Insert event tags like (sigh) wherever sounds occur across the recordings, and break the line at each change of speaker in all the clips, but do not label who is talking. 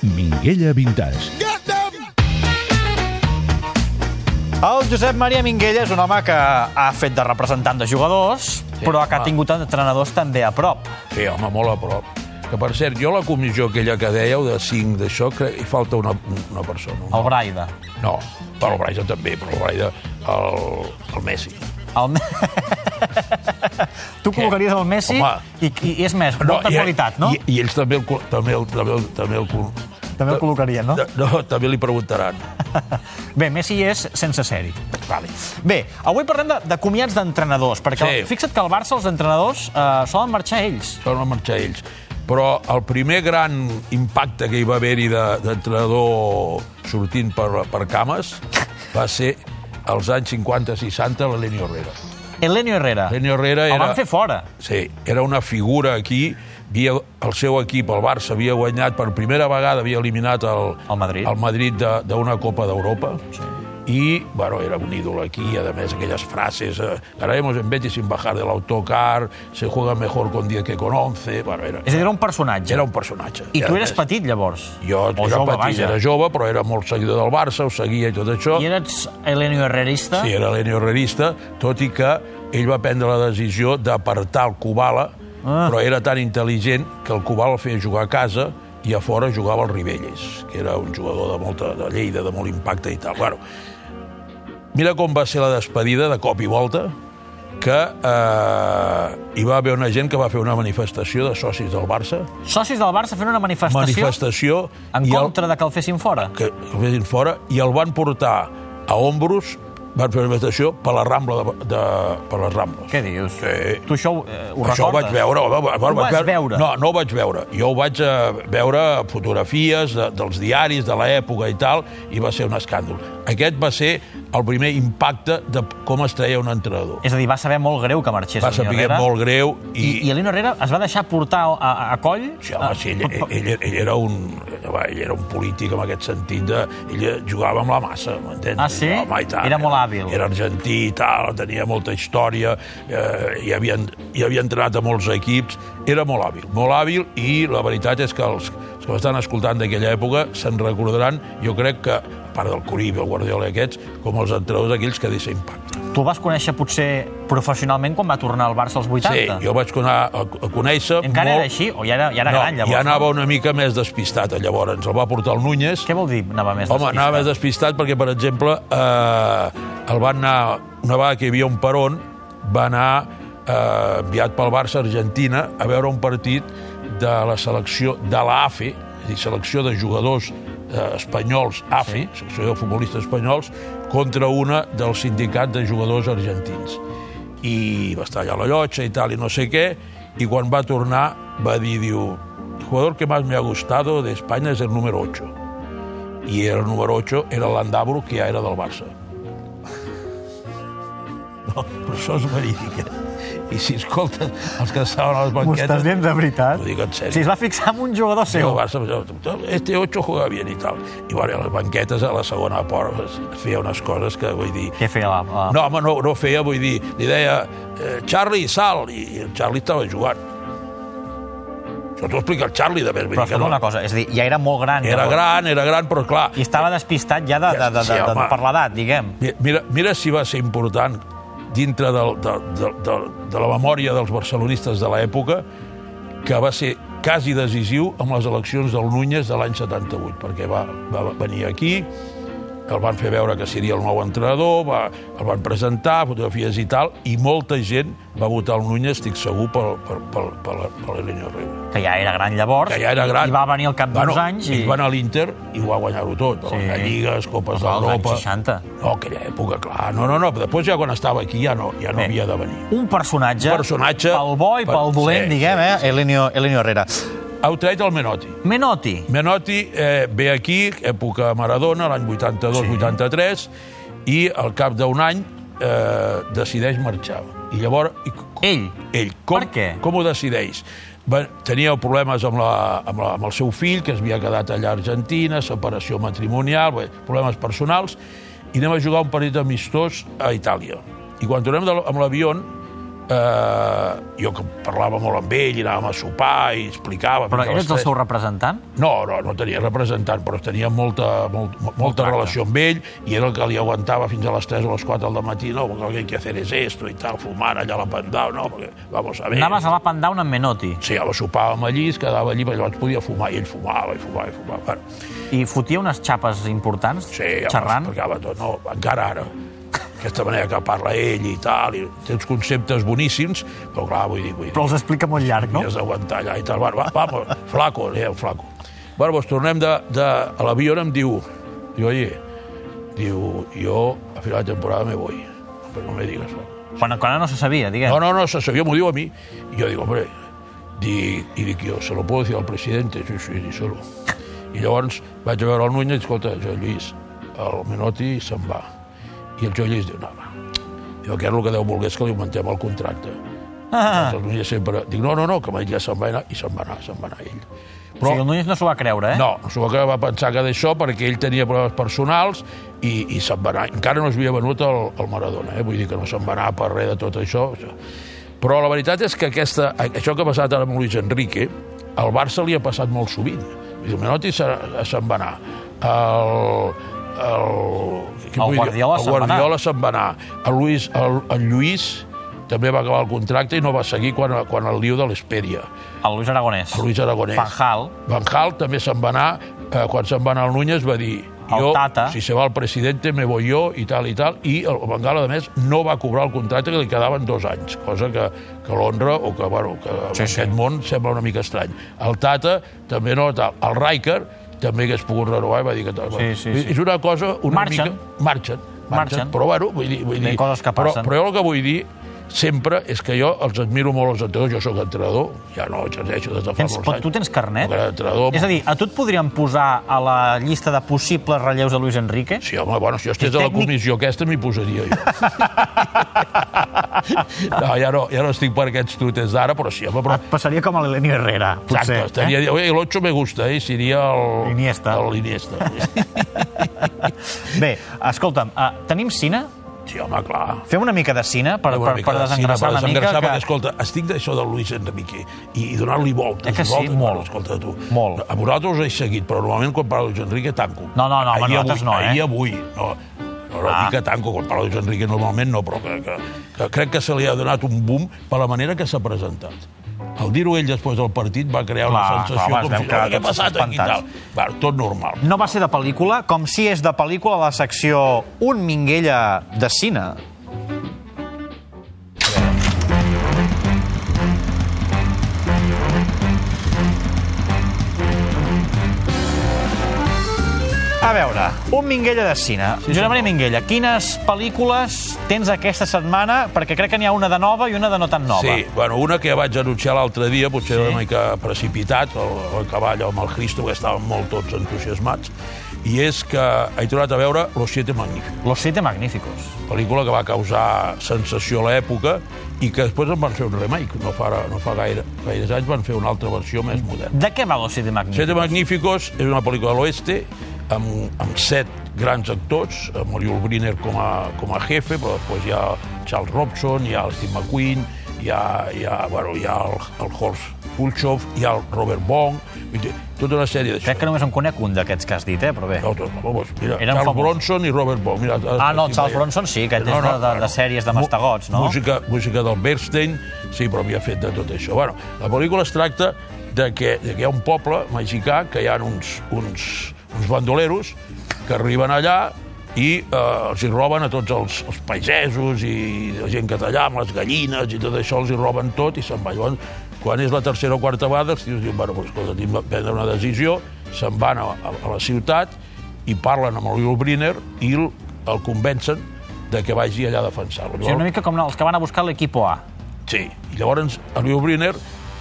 Minguella Vintage.
El Josep Maria Minguella és un home que ha fet de representant de jugadors, sí, però que ha
home.
tingut entrenadors també a prop.
Sí, home, molt a prop. Que, per cert, jo la comissió aquella que dèieu de 5 d'això, que hi falta una, una persona.
El Braida.
No, però el Braida també, però el Braida, el, el Messi.
El...
(laughs)
Me- tu col·locaries el Messi
Home.
i, i, és més, no, molta
i-
qualitat, no?
I, I ells també el, col- també el, també el, també el, col-
També el col·locarien, no?
de- no, també li preguntaran.
Bé, Messi és sense sèrie.
Vale.
Bé, avui parlem de, de comiats d'entrenadors, perquè
Sí.
sí. fixa't que al Barça els entrenadors eh, solen marxar ells.
Són a marxar ells. Però el primer gran impacte que hi va haver-hi de- d'entrenador sortint per, per cames va ser als anys 50-60 l'Elenio Herrera.
Elenio Herrera.
Elenio Herrera era...
El van fer fora.
Sí, era una figura aquí, havia, el seu equip, el Barça, havia guanyat per primera vegada, havia eliminat el,
El Madrid.
el Madrid de- d'una Copa d'Europa, sí. i, bueno, era un ídol aquí, i, a més, aquelles frases, eh, "Ganaremos en Betis sin bajar del autocar, se juega mejor con 10 que con 11, bueno, era,
És a dir, era un personatge.
era un personatge.
I
a
tu eres
més,
petit, llavors.
Jo
o
era
jove,
petit,
vaja.
era jove, però era molt seguidor del Barça, ho seguia i tot això.
I eres Elenio Herrerista?
Sí, era l'Enio Herrerista, tot i que ell va prendre la decisió d'apartar el Kubala, ah. però era tan intel·ligent que el Kubala el feia jugar a casa i a fora jugava el Ribelles, que era un jugador de molta de Lleida, de molt impacte i tal. Bueno, mira com va ser la despedida de cop i volta, que eh, hi va haver una gent que va fer una manifestació de socis del Barça,
Socis del Barça fent una manifestació
manifestació...
en
i el-
contra de que el fessin fora.
que el fessin fora i el van portar a ombros, van fer una manifestació per la Rambla de, de, per les Rambles.
Què dius?
Sí.
Tu això ho, eh, ho
Això ho vaig
recordes?
veure. Ho, ho,
Ho vas veure?
No, no ho vaig veure. Jo ho vaig eh, veure a fotografies de, dels diaris de l'època i tal, i va ser un escàndol. Aquest va ser el primer impacte de com es treia un entrenador.
És a dir, va saber molt greu que marxés
Va
Elenio
saber
Herrera.
molt greu i...
I, I Elenio Herrera es va deixar portar a, a, a coll... Eh,
Sí, home, sí, ell, ell, ell, ell, era un, va, ell era un polític en aquest sentit de... Ell jugava amb la massa, m'entens?
Ah, sí?
Home, i tant,
Era molt hàbil.
Era argentí i tal, tenia molta història, eh, hi, havia, hi havia entrenat a molts equips, era molt hàbil, molt hàbil, i la veritat és que els, els que m'estan escoltant d'aquella època se'n recordaran, jo crec que, a part del Corib, el Guardiola i aquests, com els entrenadors aquells que deixa impacte.
Tu el vas conèixer potser professionalment quan va tornar al Barça als 80.
Sí, jo vaig conar- a, a conèixer...
Encara
molt...
era així? O ja era, ja era gran, llavors?
ja anava una mica més despistat, llavors. El va portar el Núñez.
Què vol dir anava més
Home, anava més despistat perquè, per exemple, eh, el van anar... Una vegada que hi havia un peron, va anar eh, enviat pel Barça a Argentina a veure un partit de la selecció de l'AFE, és a dir, selecció de jugadors eh, espanyols AFE, sí. selecció de futbolistes espanyols, contra una del sindicat de jugadors argentins. I va estar allà a la llotja i tal, i no sé què, i quan va tornar va dir, diu, el jugador que más me ha gustado de España es el número 8 i el número 8 era l'Andabro, que ja era del Barça. No, però això és verídic. eh? I si escoltes els que estaven a les banquetes...
dient de veritat?
Ho dic en sèrio.
Si es va fixar en un jugador
Sí, el
seu.
Barça, doncs, este 8 juega bien i tal. I bueno, a les banquetes, a la segona porta, es feia unes coses que, vull dir...
Què feia la... la...
No, home, no, no feia, vull dir, li deia eh, Charlie, sal, i el Charlie estava jugant. Això t'ho explica el Charlie, de més. vull
Però
dir que
fem
no.
una cosa, és a dir, ja era molt gran.
Era
llavors.
gran, era gran, però clar,
I estava despistat ja de, de, de,
Sí,
de, de,
home.
per l'edat, diguem.
Mi- Mira, mira si va ser important dintre del, de, de, de, de la memòria dels barcelonistes de l'època que va ser quasi decisiu amb les eleccions del Núñez de l'any 78, perquè va, va venir aquí, el van fer veure que seria el nou entrenador, va, el van presentar, fotografies i tal, i molta gent va votar el Núñez, estic segur, per, per, per, per, la- per l'Elenio Herrera.
Que ja era gran llavors.
Que ja era gran.
I va venir al cap d'uns
Bueno,
anys i...
Ell va anar a l'Inter i va guanyar-ho tot.
Sí.
Sí. Lligues, Copes
Home, als anys
d'Europa...
60.
No, aquella època, clar. No, no, no. Després ja quan estava aquí ja no, ja no
Bé.
havia de venir.
Un personatge,
Un personatge-
pel bo i pel
per-
dolent,
sí,
diguem, eh? Elenio, Elenio Herrera.
Heu tret el Menotti.
Menotti.
Menotti eh, ve aquí, època Maradona, l'any 82-83, sí. i al cap d'un any eh, decideix marxar. I llavors... I,
Ell.
ell. Com,
Per què?
Com ho decideix? Va, tenia problemes amb, la, amb, la, amb el seu fill, que es havia quedat allà a Argentina, separació matrimonial, bé, problemes personals, i anem a jugar un partit amistós a Itàlia. I quan tornem de, l- amb l'avió, eh, eh, jo que parlava molt amb ell, i anàvem a sopar i explicàvem...
Però
i que
eres
les
el
tres-
seu representant?
No, no, no tenia representant, però tenia molta, molt, mo- molta
tracte.
relació amb ell i era el que li aguantava fins a les 3 o les 4 del matí, no, porque lo que hay que hacer es esto y tal, fumar allà a la Pandau, no, porque vamos a ver...
Anaves a la Pandown amb Menotti
Sí, home, sopàvem allí, es quedava allí, perquè llavors podia fumar, i ell fumava, i fumava, i fumava. Bueno,
i fotia unes xapes importants
sí, home,
xerrant.
explicava tot, no, encara ara. Aquesta manera que parla ell i tal, i té uns conceptes boníssims, però clar, vull dir, vull dir...
Però els explica molt llarg, no?
havies d'aguantar allà i tal. Bueno, va, vamos, flaco, dèiem, flaco. Bueno, doncs tornem de, de, a l'avió, em diu, diu, oye, diu, jo a final de temporada me voy, però no me digas, flaco.
Quan, quan no se sabia, diguem.
No, no, no, se sabía, me lo dijo a mí. Y yo digo, hombre, di, i dic jo, se lo puedo decir al presidente, sí, sí, díselo. I llavors vaig a veure el Núñez i escolta, Joan Lluís, el Menotti se'n va. I el Joan Lluís diu, no, va. Diu, que és el que deu voler és que li augmentem el contracte. Ah. El Núñez sempre... Dic, no, no, no, que m'ha dit que se'n va anar, i se'n va anar, se'n va anar ell.
O sigui, el Núñez no s'ho va creure, eh?
No, suposo que va pensar que d'això perquè ell tenia problemes personals i, i se'n va anar. Encara no es havia venut el, el Maradona, eh? vull dir que no se'n va anar per res de tot això. Però la veritat és que aquesta, això que ha passat ara amb Luis Enrique, al Barça li ha passat molt sovint. Vull dir, Menotti se- se'n va anar. El, el, qui
El
vull dir?
Guardiola
el
se'n va anar.
Guardiola se'n va anar. El, Luis, el, el Lluís també va acabar el contracte i no va seguir quan, quan el lío de l'Esperia.
El Luis Aragonès.
El Luis Aragonès.
Van Hal.
Van Hal també se'n va anar, eh, quan se'n va anar el Núñez va dir
El Tata.
si se va el presidente, me voy yo, i tal, i tal, i el Van Gaal, a més, no va cobrar el contracte que li quedaven dos anys, cosa que, que l'honra, o que, bueno, que sí,
Sí,
en
sí.
sí. aquest món sembla una mica estrany. El Tata també no, tal. El Riker també hagués pogut renovar i va dir que tal. Bueno,
sí,
és
sí.
una cosa una
Marxen.
mica... Marxen.
Marxen.
Però bueno, vull dir... Vull
Hi ha
dir
coses que passen.
Però, però jo el que vull dir sempre és que jo els admiro molt els entrenadors, jo sóc entrenador, ja no exerceixo des de fa
Tens,
molts
pot,
anys.
tu tens carnet?
Perquè entrenador...
És a dir, a tu et podrien posar a la llista de possibles relleus de Luis Enrique?
Sí, home, bueno, si jo estés
És
a la
tècnic?
comissió aquesta m'hi
(laughs)
posaria jo. no, ja no, ja no estic per aquests trutes d'ara, però sí, home, però...
Et passaria com a l'Elenio Herrera, potser.
Exacte, estaria... Eh? Oye, el 8 me gusta, eh? Seria el...
Iniesta.
El Iniesta.
eh? Bé, escolta'm, uh, tenim cine?
sí, home, clar.
Fem una mica de cine per,
Una
per,
mica
per
de cine,
desengrassar
per
una mica.
desengrassar, perquè, escolta, estic d'això del Luis Enrique i, i donar-li voltes.
Eh que
i
sí?
voltes,
Molt.
Bueno, escolta, tu.
Molt.
A vosaltres us he seguit, però normalment quan parlo de Luis Enrique tanco.
No, no, no, home,
Ahir
nosaltres
avui,
no, eh?
Ahir avui, no. No, no,
Ah.
dic que tanco, quan parlo de Luis Enrique normalment no, però que, que, que crec que se li ha donat un boom per la manera que s'ha presentat. Al dir-ho ell després del partit va crear
Clar,
una sensació
clar, home,
com
es
si, "Oh,
veu que
què ha
tots
passat aquí i tal?
espantats.
Va, tot normal.
No va ser de pel·lícula, com si és de pel·lícula la secció Un Minguella de cine. A veure, un Minguella de cine. Sí, Josep Maria Minguella, quines pel·lícules tens aquesta setmana? Perquè crec que n'hi ha una de nova i una de no tan nova.
Sí, bueno, una que ja vaig anunciar l'altre dia, potser sí. una mica precipitat, el, el cavall amb el Cristo, que estàvem molt tots entusiasmats, i és que he tornat a veure Los Siete Magníficos,
Los Siete Magníficos.
pel·lícula que va causar sensació a l'època i que després en van fer un remake, no fa, no fa gaire, gaires anys van fer una altra versió més moderna.
De què va Los Siete Magníficos?
Siete Magníficos és una pel·lícula de l'oeste amb, amb set grans actors, amb Oliver Briner com a, com a jefe, però després hi ha Charles Robson, hi ha el Steve McQueen, hi ha, hi ha, bueno, hi ha el, el Horst Pulchov, hi ha el Robert Bong, vull dir, tota una sèrie d'això.
Crec que només en conec un d'aquests que has dit, eh? però bé.
No, doncs, vamos, mira,
Eren
Charles
famosos.
Bronson i Robert Bong. Mira,
Ah, no,
estic
Charles
veient.
Bronson sí, que és de- de- de sèries de
Mu-
mastegots, no?
Música, música del Bernstein, sí, però havia fet de tot això. Bueno, la pel·lícula es tracta de que, de que hi ha un poble mexicà que hi ha uns, uns, uns bandoleros que arriben allà i eh, els hi roben a tots els, els pagesos i la gent que talla amb les gallines i tot això, els hi roben tot i se'n va. Llavors, quan és la tercera o quarta vegada, els tios diuen, bueno, doncs, escolta, hem de prendre una decisió, se'n van a, a, a la ciutat i parlen amb el Will Briner i el, el convencen de que vagi allà a defensar-lo.
O sigui, una mica com els que van a buscar l'equipo A.
Sí, i llavors Eliu Briner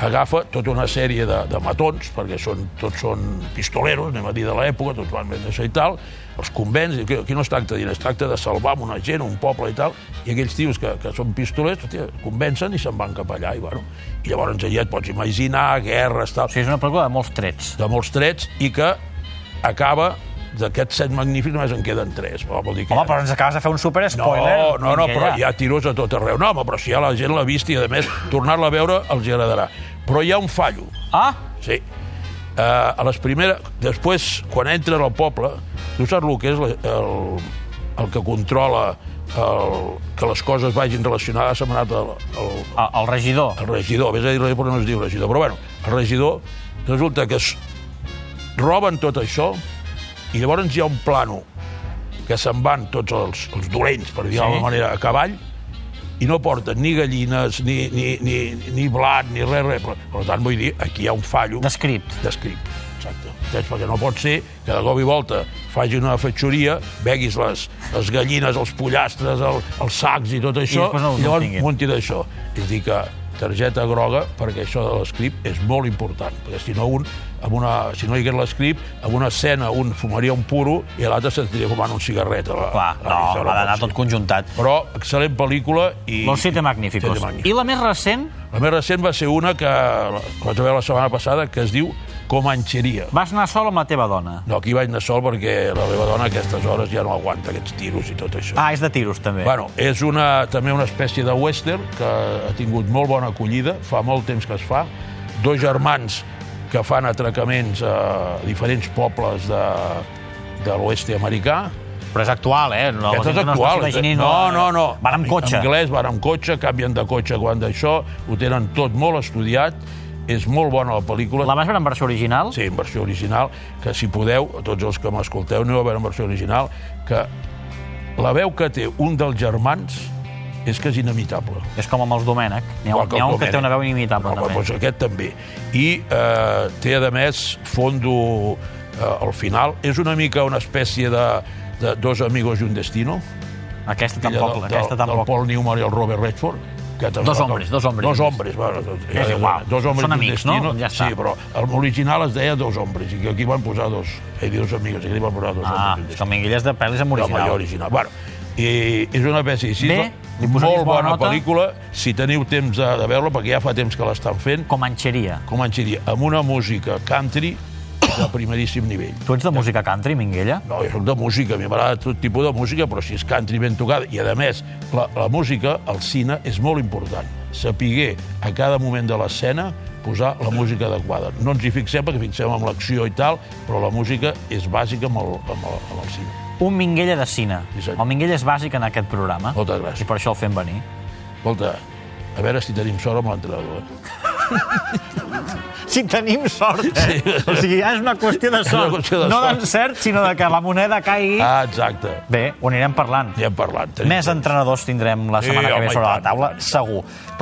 agafa tota una sèrie de, de matons, perquè són, tots són pistoleros, anem a dir, de l'època, tots van més d'això i tal, els convenç, diu, "Aquí- aquí no es tracta de diners, es tracta de salvar amb una gent, un poble i tal, i aquells tios que, que són pistolers, hòstia, convencen i se'n van cap allà, i, bueno, i llavors allà et pots imaginar, guerres, tal
O sigui, és una pel·lícula de molts trets.
de molts trets i que acaba d'aquests set magnífics només en queden tres. Però vol dir que
Home, però ens acabes de fer un super-spoiler.
no, no, no, però
Minguella.
hi ha tiros a tot arreu. No, home, però si ja la gent l'ha vist i, a més, tornar-la a veure els hi agradarà. Però hi ha un fallo,
Ah,
sí. Uh, a les primeres... Després, quan entres al poble, tu saps el que és la, el, el que controla el, que les coses vagin relacionades amb el, el,
el, el regidor.
el regidor, vés a dir regidor, però no es diu regidor, però bueno, el regidor resulta que es roben tot això i llavors hi ha un plano que se'n van tots els, els dolents, per dir d'alguna
Sí.
manera, a cavall, i no porten ni gallines, ni, ni, ni, ni blat, ni res, res. Per, per tant, vull dir, aquí hi ha un fallo
Descript.
d'escrit. Exacte. Entens? Perquè no pot ser que de cop i volta faci una fatxoria, veguis les, les gallines, els pollastres, el, els sacs i tot això,
després no els
llavors
tinguin.
munti d'això. És a dir que targeta groga, perquè això de l'escrip és molt important, perquè si no, un, amb una, si no hi hagués l'escrip, amb una escena un fumaria un puro i l'altre s'estaria fumant un cigarret. a La,
Clar,
a la
no,
vista de la
ha d'anar
boxa.
tot conjuntat.
Però excel·lent pel·lícula i...
Los Siete Magníficos.
Siete Magníficos.
I la més recent,
La més recent va ser una que la la vaig veure la setmana passada, que es diu Comanxeria.
vas anar sol amb la teva dona.
No, aquí vaig anar sol perquè la meva dona a aquestes hores ja no aguanta aquests tiros i tot això.
Ah, és de tiros, també.
Bueno, és una, també una espècie de western que ha tingut molt bona acollida, fa molt temps que es fa. Dos germans que fan atracaments a diferents pobles de, de l'oest americà.
Però és actual, eh? No, la
Aquest és
gent no es
actual.
imagini,
No, no, no.
Van amb cotxe.
Anglès, van amb cotxe, canvien de cotxe quan d'això, ho tenen tot molt estudiat, és molt bona la pel·lícula.
La vas veure en versió original?
Sí, en versió original, que si podeu, a tots els que m'escolteu, aneu a veure en versió original, que la veu que té un dels germans és que és inimitable.
És com amb els Domènec. N'hi ha,
Igual
n'hi ha
el
un que té
Domènec.
una veu inimitable,
Home,
també.
Doncs aquest també. I eh, té, a més, fondo eh, al final. És una mica una espècie de, de dos amigos i un destino.
Aquesta
filla
tampoc,
del-
aquesta
del,
tampoc.
Del Paul Newman i el Robert Redford. Que també
Dos
la-
hombres, dos hombres.
Dos hombres, bueno, dos,
És igual,
Dos hombres
són
i un
amics, no?
destino.
Ja està.
Sí, però l'original es deia dos hombres, i que aquí van posar dos, eh, i dos amigos, i aquí van posar dos
Ah,
hombres. i un
és com Minguelles de pel·lis amb
original.
original.
Home, original. Bueno, i és una peça així,
Bé, li
molt
posaries
bona,
bona nota?
pel·lícula, si teniu temps de, de veure-la, perquè ja fa temps que l'estan fent,
Com enxeria.
com en diria, amb una música country de primeríssim nivell.
Tu ets de música country, Minguella?
No, jo soc de música, a mi m'agrada tot tipus de música, però si és country ben tocada, i a més, la, la música al cine és molt important. Sapiguer a cada moment de l'escena posar la música adequada. No ens hi fixem perquè fixem amb l'acció i tal, però la música és bàsica amb el, amb el, amb el cine.
Un Minguella de cine.
Sí, senyor.
El Minguella és bàsic en aquest programa.
Moltes gràcies.
I per això el fem venir.
Escolta, a veure si tenim sort amb l'entrenador. eh?
Si tenim sort, eh?
Sí.
O sigui, ja és una qüestió de
(laughs) És una
sort.
qüestió de
no
sort.
d'encert, sinó de que la moneda caigui.
Ah, exacte.
Bé, ho anirem parlant.
Ja hem parlat. Tenim
Més entrenadors tindrem la
Sí,
setmana que
home,
ve
i
sobre la
tant,
taula,
i tant.
segur.